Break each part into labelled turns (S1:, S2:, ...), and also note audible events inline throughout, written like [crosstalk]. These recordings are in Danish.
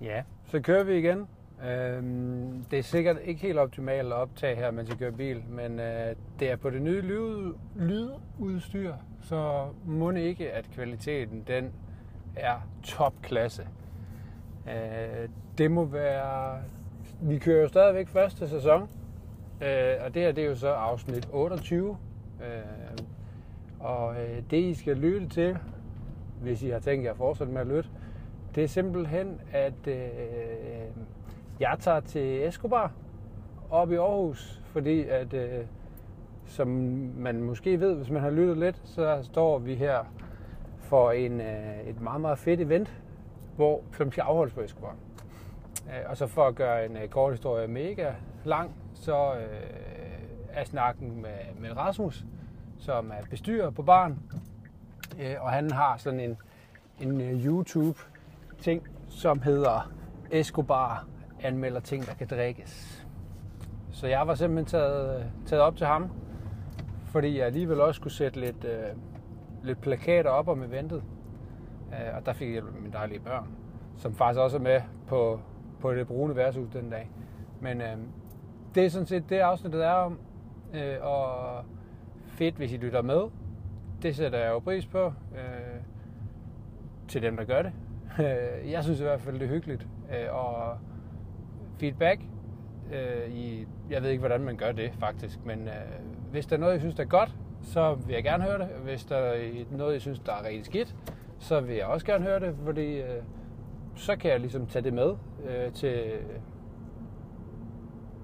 S1: Ja, så kører vi igen. Øhm, det er sikkert ikke helt optimalt at optage her, mens jeg kører bil, men øh, det er på det nye lyd, lydudstyr, så må det ikke, at kvaliteten den er topklasse. Øh, det må være... Vi kører jo stadigvæk første sæson, øh, og det her det er jo så afsnit 28. Øh, og øh, det, I skal lytte til, hvis I har tænkt jer at fortsætte med at lytte, det er simpelthen, at øh, jeg tager til Escobar op i Aarhus, fordi at, øh, som man måske ved, hvis man har lyttet lidt, så står vi her for en, øh, et meget, meget fedt event, hvor, som skal afholdes på Escobar. Øh, og så for at gøre en øh, kort historie mega lang, så øh, er snakken med, med Rasmus, som er bestyrer på baren, øh, og han har sådan en, en øh, YouTube-ting, som hedder Escobar anmelder ting, der kan drikkes. Så jeg var simpelthen taget, øh, taget op til ham, fordi jeg alligevel også skulle sætte lidt, øh, lidt plakater op om eventet. Øh, og der fik jeg hjælp af mine dejlige børn, som faktisk også er med på, på det brune værtshus den dag. Men øh, det er sådan set det afsnittet er om, øh, og fedt, hvis I lytter med. Det sætter jeg jo pris på, øh, til dem, der gør det. [laughs] Øh, jeg synes i hvert fald, det er hyggeligt. Øh, og feedback, øh, i, jeg ved ikke, hvordan man gør det faktisk, men øh, hvis der er noget, I synes, der er godt, så vil jeg gerne høre det. Hvis der er noget, I synes, der er rigtig skidt, så vil jeg også gerne høre det, fordi øh, så kan jeg ligesom tage det med øh, til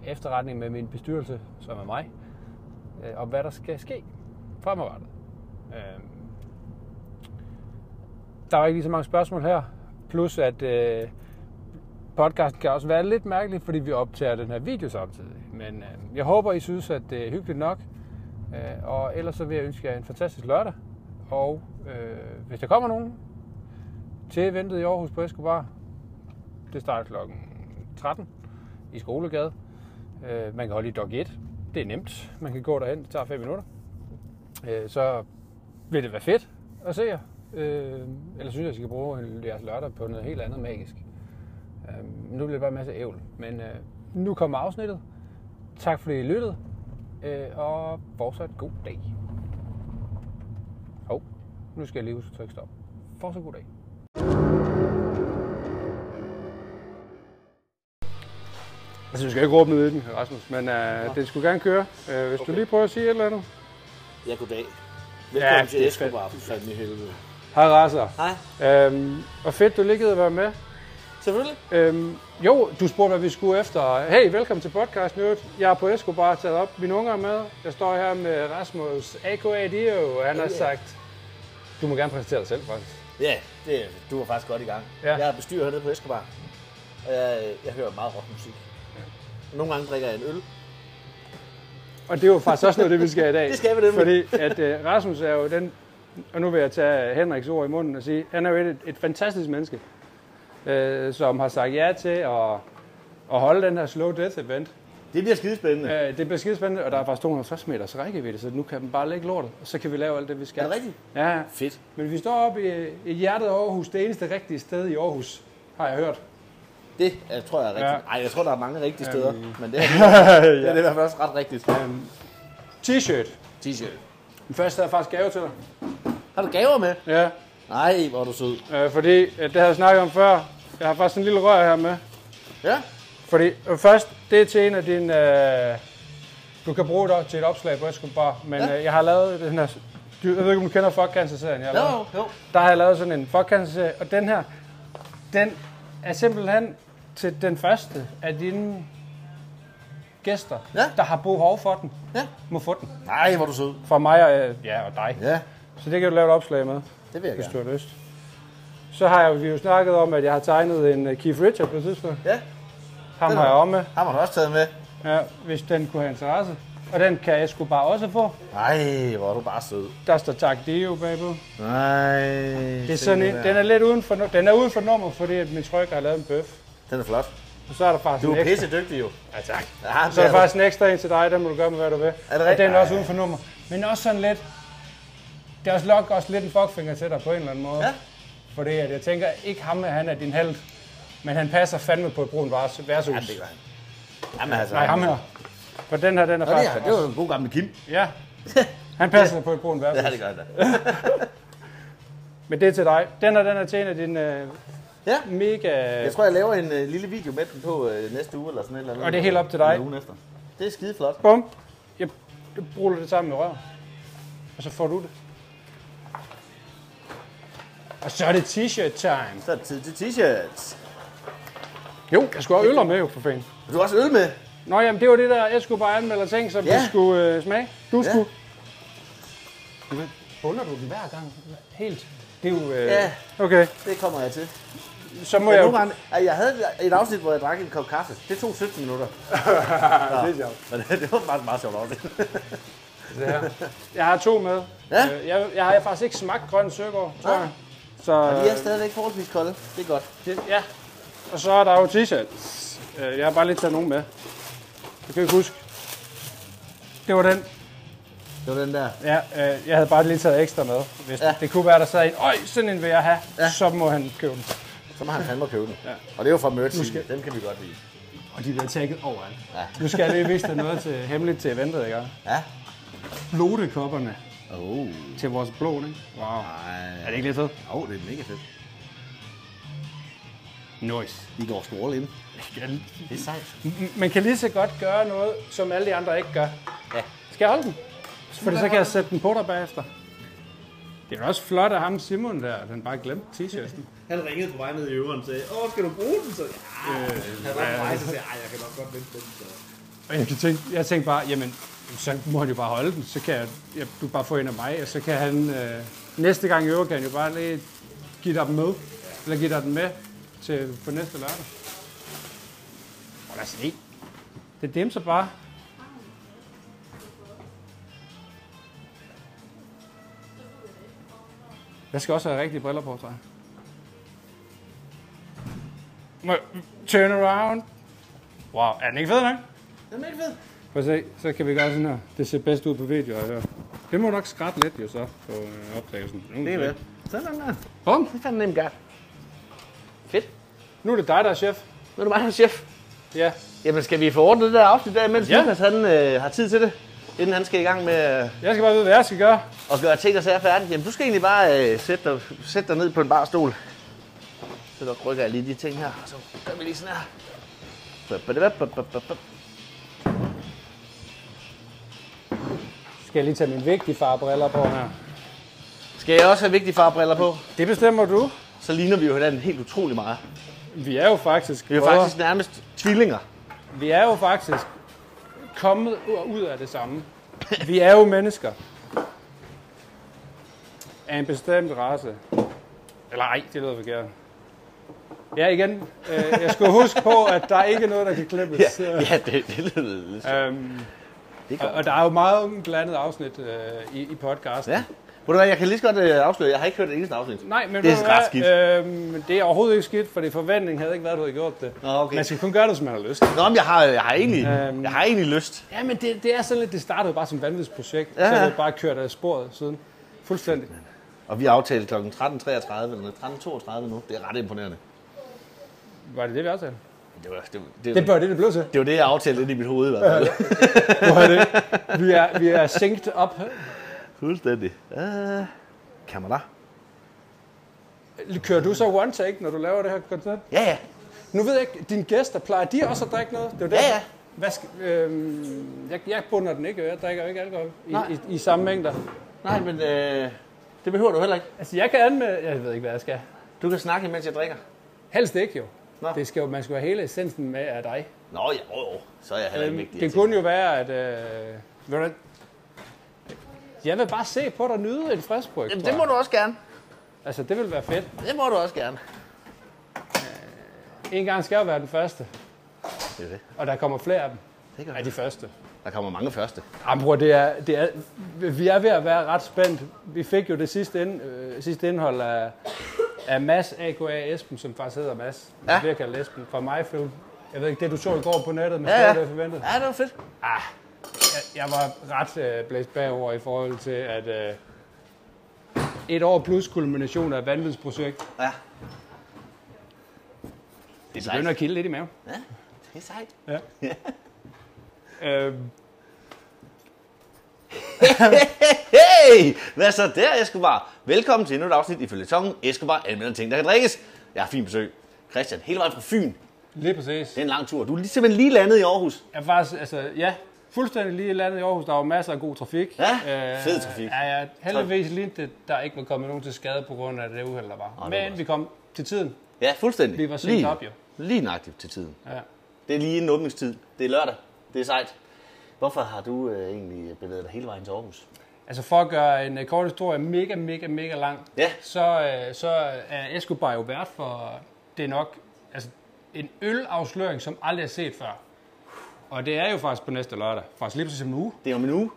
S1: efterretning med min bestyrelse, som er mig, øh, om hvad der skal ske fremadrettet. Øh, der var ikke lige så mange spørgsmål her, plus at øh, podcasten kan også være lidt mærkelig, fordi vi optager den her video samtidig. Men øh, jeg håber, I synes, at det er hyggeligt nok, øh, og ellers så vil jeg ønske jer en fantastisk lørdag, og øh, hvis der kommer nogen til eventet i Aarhus på Escobar, det starter kl. 13 i Skolegade. Øh, man kan holde i dog 1. Det er nemt. Man kan gå derhen. Det tager 5 minutter. Øh, så vil det være fedt at se jer. Øh, eller synes jeg, I skal bruge en- jeres lørdag på noget helt andet magisk. Øh, nu bliver det bare en masse ævl. Men øh, nu kommer afsnittet. Tak fordi I lyttede. Øh, og fortsat god dag. Hov, nu skal jeg lige huske at trykke stop. Fortsat god dag.
S2: Altså, vi skal ikke råbe ned i den, Rasmus, men øh, den skulle gerne køre. Øh, hvis okay. du lige prøver at sige et eller andet.
S3: Ja, goddag. Velkommen ja,
S2: det
S3: til
S2: er
S3: Escobar, for fanden i helvede.
S2: Hej, Rasser.
S3: Hej,
S2: Øhm, og fedt, du lige gider være med.
S3: selvfølgelig.
S2: Øhm, jo, du spurgte, hvad vi skulle efter. Hey, velkommen til podcasten. i øvrigt. Jeg er på Escobar taget op. Mine unger er med. Jeg står her med Rasmus A.K.A. Dio. Han har
S3: Ja.
S2: sagt... Du må gerne præsentere dig selv, faktisk.
S3: Ja, det, er- du var faktisk godt i gang.
S2: Ja.
S3: Ja. Jeg er bestyrer hernede på Escobar, og jeg, jeg hører meget rockmusik. Nogle gange drikker jeg en øl.
S2: Og det er jo faktisk også noget, af [laughs] det vi skal i dag.
S3: Det skal vi nemlig.
S2: Fordi at øh, Rasmus er jo den, og nu vil jeg tage Henriks ord i munden og sige, han er jo et, et fantastisk menneske, øh, som har sagt ja til at, at holde den her slow death event.
S3: Det bliver skidespændende. Ja.
S2: Øh, det bliver skidespændende, og der er faktisk 250 meters rækkevidde, så nu kan den bare lægge lortet, og så kan vi lave alt det, vi skal.
S3: Er det rigtigt?
S2: Ja,
S3: Fedt.
S2: men vi står oppe i, i hjertet af Aarhus, det eneste rigtige sted i Aarhus, har jeg hørt.
S3: Det jeg tror jeg er rigtigt.
S2: Ja.
S3: Nej, jeg tror, der er mange rigtige steder, men [laughs] det er, det er i hvert fald også ret rigtigt.
S2: T-shirt.
S3: T-shirt.
S2: Den første er faktisk gave til dig.
S3: Har du gaver med?
S2: Ja,
S3: Nej, hvor er du sød.
S2: øh, fordi øh, det har jeg snakket om før. Jeg har faktisk en lille rør her med.
S3: Ja,
S2: Fordi øh, først, det er til en af dine... Øh, du kan bruge det til et opslag på Escobar, men ja.
S3: Ja.
S2: øh, jeg har lavet den her... Du, jeg ved ikke, om du kender Fuck Cancer-serien, jeg har
S3: jo,
S2: lavet.
S3: jo.
S2: Der har jeg lavet sådan en Fuck Cancer-serie, og den her, den er simpelthen til den første af dine gæster,
S3: Ja.
S2: der har behov for den,
S3: Ja.
S2: må få den.
S3: Nej, hvor er du sød.
S2: Fra mig og, øh, ja, og dig.
S3: Ja,
S2: Så det kan du lave et opslag med,
S3: det vil jeg
S2: hvis
S3: gerne.
S2: du har lyst. Så har jeg, vi har jo snakket om, at jeg har tegnet en øh, Keith Richard på et tidspunkt.
S3: Ja,
S2: Ham
S3: Den
S2: har
S3: har-
S2: jeg om med.
S3: ham har du også taget med.
S2: Ja, hvis den kunne have interesse. Og den kan jeg sgu bare også få.
S3: Nej, hvor er du bare sød.
S2: Der står tak Dio bagpå.
S3: Nej.
S2: Det er sådan en, den er lidt uden for, nu- den er uden for nummer, fordi at min tryk har lavet en bøf.
S3: den er flot.
S2: Og så er der faktisk
S3: Du
S2: en
S3: er
S2: ekstra.
S3: pisse dygtig jo.
S2: Ja, tak.
S3: Ja,
S2: Så er der faktisk en ekstra en til dig, den må du gøre med, hvad du vil.
S3: Er det
S2: og den er
S3: rigtigt?
S2: også uden for nummer. Men også sådan lidt, det er også nok også lidt en fuckfinger til dig på en eller anden måde.
S3: Ja.
S2: Fordi at jeg tænker, ikke ham, han er din held.
S1: Men han passer fandme på et brun vars- værtshus.
S3: Ja, det gør han. Jamen, altså,
S1: Nej, ham her. For den her, den er
S3: Nå, det,
S1: faktisk...
S3: er, det var jo en god gammel Kim.
S1: Ja. Han passer på et brun
S3: Ja,
S1: værtshus.
S3: det gør han da.
S1: Men det er til dig. Den her, den er til en af dine øh,
S3: Ja.
S1: mega...
S3: Jeg tror, jeg laver en øh, lille video med den på øh, næste uge eller sådan et eller andet.
S1: Og det er helt op til dig.
S3: Eller Ugen efter. Det er skide flot.
S1: Bum. Jeg ruller det sammen med røven. Og så får du det. Og så er det t-shirt time.
S3: Så er det tid til t-shirts.
S1: Jo, jeg skulle have øller med jo, for fanden.
S3: Har du også øl med?
S1: Nå, jamen det var det der, jeg skulle bare anmelde ting, som ja.
S3: Ja.
S1: vi skulle øh, smage. Du
S3: Ja.
S1: ja. skulle. Bunder du den hver gang? Helt. Det er jo... Øh...
S3: Ja.
S1: Okay,
S3: Det kommer jeg til.
S1: så må
S3: Jeg,
S1: jeg
S3: nogle
S1: jo...
S3: gange, Ej, jeg havde et afsnit, hvor jeg drak en kop kaffe. Det tog 17 minutter.
S1: [laughs] Det er sjovt.
S3: Men det var faktisk meget sjovt afsnit.
S1: Jeg har to med.
S3: Ja.
S1: Øh, jeg, jeg har faktisk ikke smagt grøn søgård, tror
S3: Nej.
S1: jeg. Så,
S3: De er stadigvæk forholdsvis kolde. Det er godt.
S1: Det, ja. Og så er der jo t-shirts. Øh, Jeg har bare lige taget nogen med. Jeg kan ikke huske. Det var den.
S3: Det var den der.
S1: Ja, øh, jeg havde bare lige taget ekstra med. Hvis
S3: Ja.
S1: ja. det kunne være, der sad en, øj, sådan en vil jeg have,
S3: Ja.
S1: ja. så må han købe den.
S3: Så må han fandme købe den. Ja. Og det er jo fra Merch.
S1: skal-
S3: Dem kan vi godt lide.
S1: Og de bliver tagget overalt.
S3: Ja.
S1: Nu skal jeg lige vise dig noget til, hemmeligt til eventet, ikke?
S3: Ja.
S1: Blodekopperne
S3: Oh.
S1: til vores blod, ikke? Wow.
S3: Ej.
S1: Er det ikke lidt fedt?
S3: Åh, oh, det er mega fedt.
S1: Nice.
S3: De går sgu all in. Det er sejt.
S1: Man kan lige så godt gøre noget, som alle de andre ikke gør.
S3: Ja.
S1: Skal jeg holde den? Fordi så kan jeg sætte den på dig bagefter. Det er jo også flot af ham Simon der, at han bare glemte t-shirten.
S4: Han ringede på vej ned i øveren og sagde, åh, skal du bruge den? Så
S3: Øh,
S4: ja, han var på vej, så sagde jeg, "Ej, jeg kan nok godt vente den. Så.
S1: Og jeg, tænkte, jeg tænkte bare, jamen, så må han jo bare holde den. Så kan jeg, jeg, du kan bare få en af mig, og så kan han... Øh, næste gang i øver, kan han jo bare lige give dig den med. Eller give dig den med til, på næste lørdag. Og lad os se. Det dimser bare. Jeg skal også have rigtige briller på, tror jeg. Må jeg- Turn around. Wow, er den ikke fed nok?
S3: Den er ikke fed.
S1: Prøv at se, så kan vi gøre sådan her. Det ser bedst ud på video, har jeg hørt. Det må nok skrætte lidt jo så på øh, opdagelsen. Nu,
S3: Det er vel. Sådan der.
S1: Bum,
S3: Det er fandme nemt godt. Fedt.
S1: nu er det dig, der er chef.
S3: Nu er det mig, der er chef.
S1: Ja.
S3: Jamen, skal vi få ordnet det der afsnit der, mens ja.
S1: Ja.
S3: Lukas han, øh, har tid til det? Inden han skal i gang med øh,
S1: Jeg skal bare vide, hvad jeg skal gøre.
S3: at gøre ting og sager færdigt. Jamen, du skal egentlig bare øh, sætte, dig, sætte dig ned på en barstol. Så der rykker jeg lige de ting her, og så gør vi lige sådan her. Bup, bup, bup, bup, bup, bup.
S1: Skal jeg lige tage mine vigtige farbriller på her?
S3: Skal jeg også have vigtige farbriller på?
S1: Det bestemmer du.
S3: Så ligner vi jo hinanden helt utrolig meget.
S1: Vi er jo faktisk...
S3: Vi er jo
S1: brødre.
S3: faktisk nærmest tvillinger.
S1: vi er jo faktisk kommet u- ud af det samme. Vi er jo mennesker. Af en bestemt race. Eller ej, det lyder forkert. Ja, igen. Øh, jeg skulle huske på, at der ikke er noget, der kan
S3: Ja,
S1: klippes.
S3: ja det, det lyder lidt.
S1: Øhm,
S3: Det er
S1: og, og der er jo meget blandet afsnit øh, i, i podcasten.
S3: Ja. Ved du hvad, jeg kan lige så godt øh, afsløre, jeg har ikke hørt det eneste afsnit.
S1: Nej, men
S3: Det er
S1: ved du hvad,
S3: ret skidt.
S1: Øhm, det er overhovedet ikke skidt, for det forventning havde ikke været, at du havde gjort det.
S3: Nå, okay.
S1: Man skal kun gøre det, som man har lyst.
S3: Nå, men jeg har, jeg har, egentlig,
S1: Øhm.
S3: jeg har egentlig lyst.
S1: Ja, men det, det er sådan lidt, det startede bare som vanvidsprojekt,
S3: Ja,
S1: ja. så
S3: ja.
S1: har det bare kørt af sporet siden. Fuldstændig.
S3: Og vi aftalte kl. 13.33 eller 13.32 nu. Det er ret imponerende.
S1: Var det det, vi aftalte?
S3: Det var det, var- det,
S1: Det
S3: det, var,
S1: bør det, det blev til.
S3: det, var det jeg aftalte lidt i mit hoved i hvert fald.
S1: Hvor er det? Vi er, vi er synced op.
S3: [laughs] Fuldstændig. Uh, kamera.
S1: Kører du så one take, når du laver det her koncept?
S3: Ja, ja.
S1: Nu ved jeg ikke, dine gæster, plejer de også at drikke noget? Det er jo det.
S3: Ja, ja.
S1: Hvad skal, øhm, jeg, jeg bunder den ikke, og jeg drikker jo ikke alkohol i, i, i samme mængder.
S3: Nej, men øh, det behøver du heller ikke.
S1: Altså, jeg kan anmelde... Jeg ved ikke, hvad jeg skal.
S3: Du kan snakke, mens jeg drikker.
S1: Helst ikke, jo.
S3: Nå.
S1: Det skal jo, man skal jo have hele essensen med af dig.
S3: Nå, ja, jo, jo. Så er jeg heller ikke
S1: Øhm,
S3: vigtig.
S1: det kunne jo være, at... Øh, ved du, hvad? jeg vil bare se på dig nyde en friskbryg,
S3: Jamen,
S1: tror
S3: det må
S1: jeg.
S3: du også gerne.
S1: Altså, det vil være fedt.
S3: Det må du også gerne.
S1: En gang skal jeg jo være den første,
S3: Det er det.
S1: og der kommer flere af dem.
S3: det gør
S1: Af de første.
S3: Der kommer mange første.
S1: Jamen, bror, det er, det er, vi er ved at være ret spændt. Vi fik jo det sidste, ind, øh, sidste indhold af, af Mads A.K.A. Esben, som faktisk hedder Mads.
S3: Ja.
S1: Ja. Vi kalde Esben fra mig film. Jeg ved ikke, det du så i går på nettet, men
S3: Ja,
S1: ja,
S3: ja.
S1: ja. det jeg forventet.
S3: Ja, det var fedt.
S1: Jeg, jeg var ret øh, blæst bagover i forhold til, at øh, et år plus kulmination af et vanvidsprojekt.
S3: Ja. Det er
S1: begynder at kilde lidt i maven.
S3: Ja, det er [laughs] sejt.
S1: Øhm,
S3: Hey, hvad så der, Escobar? Velkommen til endnu et afsnit i Følgetongen. Escobar anmelder ting, der kan drikkes. Jeg har fint besøg. Christian, hele vejen fra Fyn.
S1: lige præcis.
S3: Det er en lang tur. Du er lige simpelthen lige landet i Aarhus.
S1: Jeg er faktisk, altså, ja, fuldstændig lige landet i Aarhus. Der var masser af god trafik. Øh,
S3: Ja, fed trafik.
S1: Ja, ja, heldigvis lige det, der ikke var kommet nogen til skade på grund af det uheld, der var.
S3: var
S1: Men vi kom til tiden.
S3: Ja, fuldstændig.
S1: Vi var sent
S3: Lige-
S1: op, jo.
S3: Lige nøjagtigt til tiden.
S1: Ja.
S3: Det er lige inden åbningstid. Det er lørdag. Det er sejt. Hvorfor har du øh, egentlig bevæget dig hele vejen til Aarhus?
S1: Altså for at gøre en øh, kort historie mega, mega, mega lang,
S3: Ja.
S1: så, øh, så er Escobar jo vært for, det er nok altså, en ølafsløring, som aldrig er set før. Og det er jo faktisk på næste lørdag, faktisk lige præcis om en uge.
S3: Det er om en uge.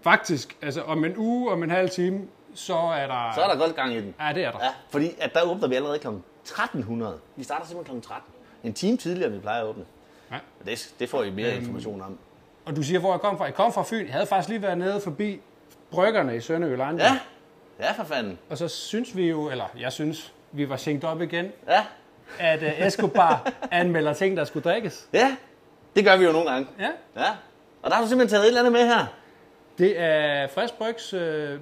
S1: Faktisk, altså om en uge, om en halv time, så er der...
S3: Så er der godt gang i den.
S1: Ja, det er der.
S3: Ja, fordi at der åbner vi allerede kl. 1300. Vi starter simpelthen kl. 13. En time tidligere, end vi plejer at åbne.
S1: Ja. Øhm.
S3: Og Det, det får I mere information om.
S1: Og du siger, hvor jeg kom fra. Jeg kom fra Fyn. Jeg havde faktisk lige været nede forbi bryggerne i Sønderjylland.
S3: Ja, ja for fanden.
S1: Og så synes vi jo, eller jeg synes, vi var sænkt op igen,
S3: Ja,
S1: at uh, [laughs] Escobar anmelder ting, der skulle drikkes.
S3: ja. Det gør vi jo nogle gange.
S1: Ja.
S3: Ja. Og der har du simpelthen taget et eller andet med her.
S1: Det er Frisk Brygs øh,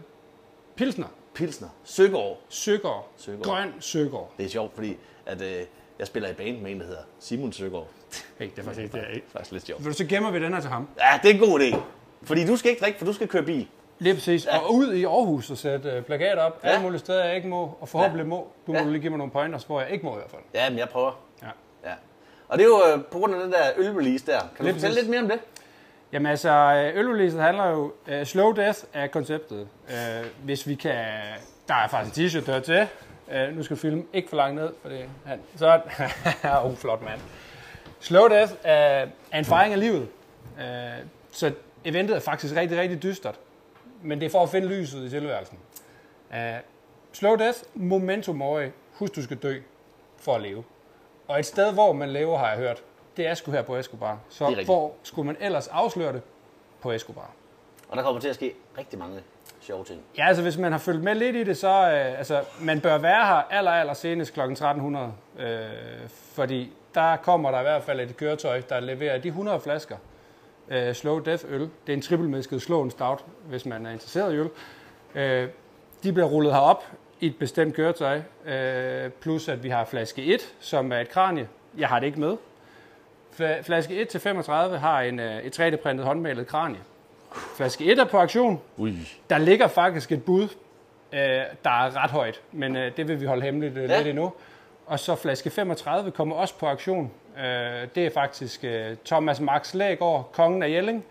S1: Pilsner.
S3: Pilsner. Søgaard.
S1: Søgaard.
S3: Søgaard.
S1: Grøn Søgaard.
S3: Det er sjovt, fordi at, øh, jeg spiller i band med en, der hedder Simon Søgaard.
S1: Hey, det er faktisk ikke det, jeg ikke.
S3: Faktisk lidt sjovt.
S1: Vil du så gemmer vi den her til ham?
S3: Ja, det er en god idé. Fordi du skal ikke drikke, for du skal køre bil.
S1: Lige præcis. Ja. Og ud i Aarhus og sætte øh, plakater op. Ja. Alle mulige steder, jeg ikke må, og forhåbentlig må. Du må
S3: Ja.
S1: du lige give mig nogle pointers, hvor jeg ikke må i hvert fald.
S3: Ja, men jeg prøver.
S1: Ja.
S3: Ja. Og det er jo øh, på grund af den der ølrelease der. Kan du
S1: Lidt
S3: fortælle
S1: præcis.
S3: lidt mere om det?
S1: Jamen altså, øh, ølreleaset handler jo... Øh, slow death er konceptet. Øh, hvis vi kan... Der er faktisk en t-shirt, der er til. Øh, nu skal du filme ikke for langt ned, for det han. Sådan. [laughs] oh, flot mand. Slow death er, er en fejring af livet. Øh, så eventet er faktisk rigtig, rigtig dystert. Men det er for at finde lyset i tilværelsen. Øh, slow death, momentum mori. Husk, du skal dø for at leve. Og et sted, hvor man lever, har jeg hørt, det er sgu her på Escobar.
S3: Det er
S1: Så
S3: rigtigt.
S1: hvor skulle man ellers afsløre det? På Escobar.
S3: Og der kommer til at ske rigtig mange sjove ting.
S1: Ja, altså hvis man har følt med lidt i det, så øh, altså, man bør være her aller, aller senest kl. 1300. Øh, fordi der kommer der i hvert fald et køretøj, der leverer de 100 flasker øh, Slow Death øl. Det er en trippelmæsket Slow and Stout, hvis man er interesseret i øl. Øh, de bliver rullet herop i et bestemt køretøj. Øh, plus at vi har flaske 1, som er et kranje. Jeg har det ikke med. Fla- Flaske 1-35 har en, øh, et 3D-printet håndmalet kranje. Flaske 1 er på aktion.
S3: Ui.
S1: Der ligger faktisk et bud, øh, der er ret højt, men øh, det vil vi holde hemmeligt øh,
S3: Ja.
S1: lidt endnu. Og så flaske 35 kommer også på aktion. Øh, det er faktisk øh, Thomas Max Lægaard, kongen af Jelling,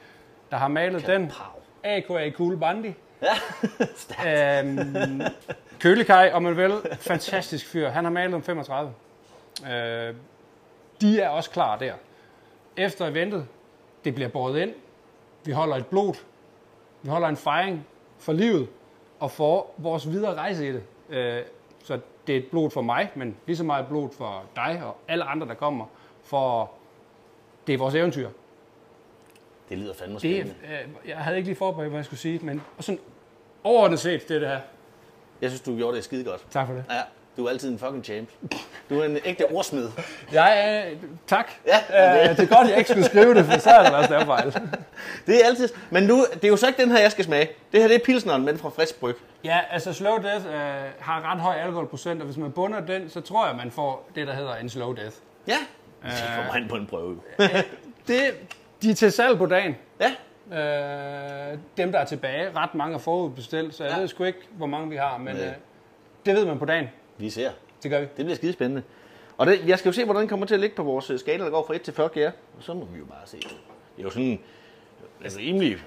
S1: der har malet den.
S3: Pow.
S1: A.K.A. Cool Bandi.
S3: Ja,
S1: [laughs]
S3: stærkt.
S1: Øhm, Kølekaj, om man vil. Fantastisk fyr. Han har malet om 35. Øh, de er også klar der. Efter eventet, det bliver båret ind. Vi holder et blod. Vi holder en fejring for livet og for vores videre rejse i det. Øh, så det er et blod for mig, men lige så meget et blod for dig og alle andre, der kommer. For det er vores eventyr.
S3: Det lyder fandme
S1: Det,
S3: spændende.
S1: er- øh, jeg havde ikke lige forberedt, hvad jeg skulle sige, men sådan overordnet set, det er det her.
S3: Jeg synes, du gjorde det skide godt.
S1: Tak for det.
S3: Ja, du er altid en fucking champ. Du er en ægte ordsmed.
S1: Jeg er... Tak.
S3: Ja,
S1: Øh, det er godt, jeg ikke skulle skrive det, for så er det også der fejl.
S3: det er altid. Men nu, det er jo så ikke den her, jeg skal smage. Det her, det er pilsneren, men fra frisk bryg.
S1: Ja, altså slow death øh, har ret høj alkoholprocent, og hvis man bunder den, så tror jeg, man får det, der hedder en slow death.
S3: Ja. Det kommer han på en prøve.
S1: Det, de er til salg på dagen.
S3: Ja,
S1: Øh, dem, der er tilbage, ret mange er forudbestilt, så jeg
S3: Ja.
S1: ja. ved sgu ikke, hvor mange vi har, men
S3: Nej.
S1: øh, det ved man på dagen.
S3: vi ser.
S1: Det gør vi.
S3: Det bliver skide spændende. Og det, jeg skal jo se, hvordan den kommer til at ligge på vores øh, skala, der går fra 1 til 40 gær. Og så må vi jo bare se. Det er jo sådan en rimelig,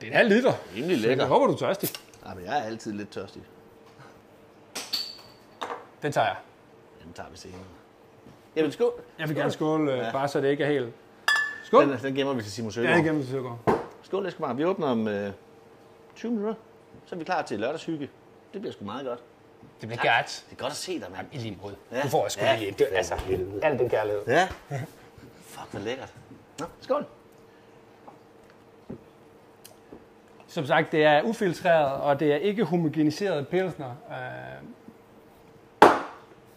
S1: Det er en halv liter.
S3: rimelig
S1: Jeg
S3: lækker.
S1: håber, du er tørstig.
S3: Ja, men jeg er altid lidt tørstig.
S1: Den tager jeg.
S3: Den tager vi senere. Jamen, skål.
S1: Jeg vil gerne skåle, øh,
S3: Ja.
S1: ja. bare så det ikke er helt... Skål!
S3: Den, den gemmer vi til Simon
S1: Ja,
S3: Søgaard.
S1: igennem til Søgaard.
S3: Skål, Escobar. Vi åbner om øh, 20 minutter. Så er vi klar til lørdagshygge. Det bliver sgu meget godt.
S1: Det bliver gært.
S3: Det er godt at se dig, mand.
S1: I lige måde.
S3: Ja.
S1: Du får også sgu
S3: Ja.
S1: lige et. Det- Altså, al den kærlighed.
S3: Ja. Fuck, hvor lækkert. Nå, skål.
S1: Som sagt, det er ufiltreret, og det er ikke homogeniseret pilsner. Øh,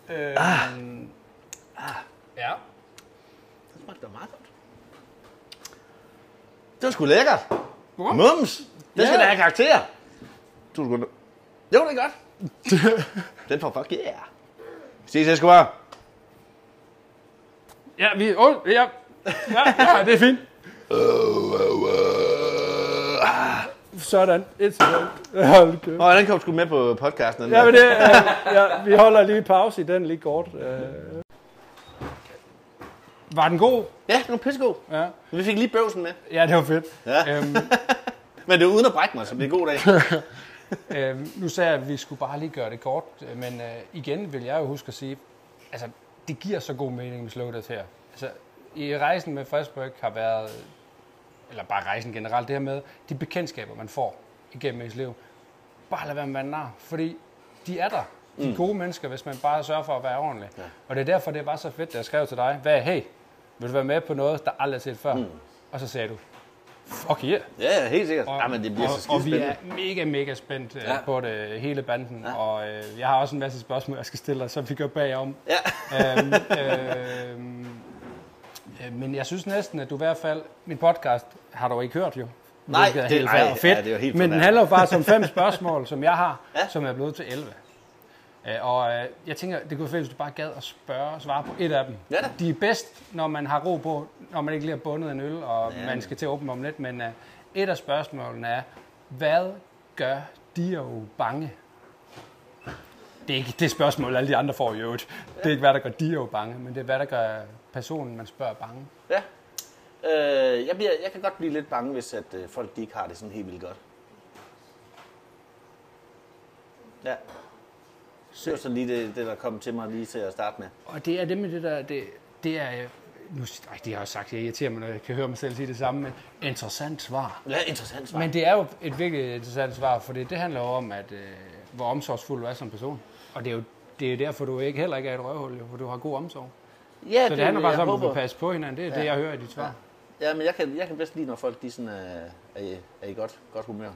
S1: øh, ah.
S5: Ja.
S3: Det smagte da meget godt. Det var sgu lækkert.
S1: Wow.
S3: Mums! Det
S1: Ja.
S3: skal da have karakter. To sekunder. Jo, det er [laughs] godt. Den får fuck yeah. Ses, Escobar.
S1: Ja, vi... Åh, oh, ja. Ja, ja, det er fint. Sådan. Et sekund. Hold kæft.
S3: Nå, den kom sgu med på podcasten. Den
S1: Ja,
S3: der.
S1: men det, øh, ja, vi holder lige pause i den lige kort. Øh. Var den god?
S3: ja, den var pissegod.
S1: Ja.
S3: Vi fik lige bøvsen med.
S1: Ja, det var fedt.
S3: Ja.
S1: Øhm,
S3: Men det var uden at brække mig, så det er en god dag.
S1: øhm, nu sagde jeg, at vi skulle bare lige gøre det kort, øh, men øh, igen vil jeg jo huske at sige, altså, det giver så god mening med Slowdot her. Altså, i rejsen med Frederiksberg har været, eller bare rejsen generelt, det her med de bekendtskaber, man får igennem ens liv. Bare lad være med at være nar, fordi de er der. De er gode mennesker, hvis man bare sørger for at være ordentlig. Mm. Ja. Og det er derfor, det var så fedt, da jeg skrev til dig, hvad, hey, vil du være med på noget, der aldrig er set før? Mm. Og så sagde du, fuck yeah.
S3: Ja, ja, helt sikkert. Ja, men det bliver
S1: og,
S3: så
S1: og vi
S3: skidespændende.
S1: er mega, mega spændt ja.
S3: Ja.
S1: på det, hele banden, ja. og øh, jeg har også en masse spørgsmål, jeg skal stille dig, som vi gør bagom.
S3: Ja.
S1: øhm, øhm, øh, men jeg synes næsten, at du i hvert fald, min podcast har du ikke hørt jo.
S3: Nej,
S1: hvilket
S3: det-
S1: helt
S3: nej,
S1: fair og fedt,
S3: ja, det er jo helt
S1: men den
S3: fornærmende.
S1: handler jo faktisk om fem [laughs] spørgsmål, som jeg har,
S3: Ja.
S1: ja. som er blevet til 11. Øh, Og øh, jeg tænker, det kunne være fedt, hvis du bare gad at spørge og svare på et af dem.
S3: Ja da.
S1: De er bedst, når man har ro på, når man ikke lige har bundet en øl, og
S3: Ja.
S1: ja. man skal til at åbne om lidt. Men øh, et af spørgsmålene er, hvad gør de jo bange? Det er ikke det spørgsmål, alle de andre får i øvrigt. Det er ikke, hvad der gør de jo bange, men det er, hvad der gør personen, man spørger, bange.
S3: Ja. Øh, jeg, bliver, jeg kan godt blive lidt bange, hvis at, øh, folk de ikke har det sådan helt vildt godt. Ja. Det var så lige det, det, der kom til mig lige til at starte med.
S1: Og det er det med det der, det, det er, øh, nu, ej, det har jeg jo sagt, jeg irriterer mig, når jeg kan høre mig selv sige det samme, men interessant svar.
S3: Ja, interessant svar.
S1: Men det er jo et virkelig interessant svar, for det handler jo om, at, øh, hvor omsorgsfuld du er som person. Og det er jo det er jo derfor, du ikke, heller ikke er et røvhul, jo, for du har god omsorg.
S3: ja,
S1: Så det handler bare
S3: jeg
S1: om, at du
S3: håber-
S1: kan passe på hinanden. Det er ja. det, jeg hører i dit svar.
S3: Ja, men jeg kan, jeg kan bedst lide, når folk de sådan, øh, er, i, er i godt, godt humør.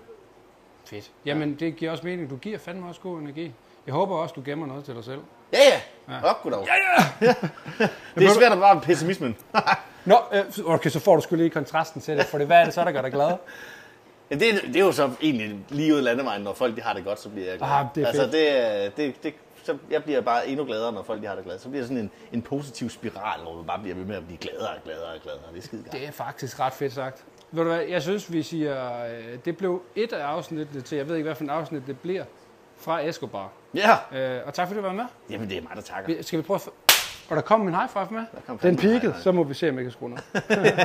S1: Fedt. Jamen, det giver også mening. Du giver fandme også god energi. Jeg håber også, du gemmer noget til dig selv.
S3: Ja, ja. ja. Op, goddag. Ja, ja. [laughs] det er svært at være pessimismen.
S1: Nå, øh, okay, så får du skulle lige kontrasten til det, for det, hvad er det så, der gør dig glad?
S3: Ja, det, er- det er jo så egentlig lige ud af landevejen, når folk de har det godt, så bliver jeg glad.
S1: Ah, det er
S3: altså,
S1: fedt.
S3: det, er- det, det, så jeg bliver bare endnu gladere, når folk de har det glad. Så bliver det sådan en, en positiv spiral, hvor man bare bliver ved med at blive gladere og gladere og gladere. Det er skide godt.
S1: [laughs] Det er faktisk ret fedt sagt. Ved du hvad, jeg synes, vi siger, øh, det blev et af afsnittene til, jeg ved ikke, hvad for en afsnit det bliver, fra Escobar.
S3: Ja,
S1: Øh, og tak fordi du var med.
S3: jamen det er mig, der takker.
S1: Vi- Skal vi prøve at... f- Og der kom en high five med.
S3: kom fandme
S1: Den
S3: en high
S1: peakede,
S3: five.
S1: så må vi se, om jeg kan skrue ned.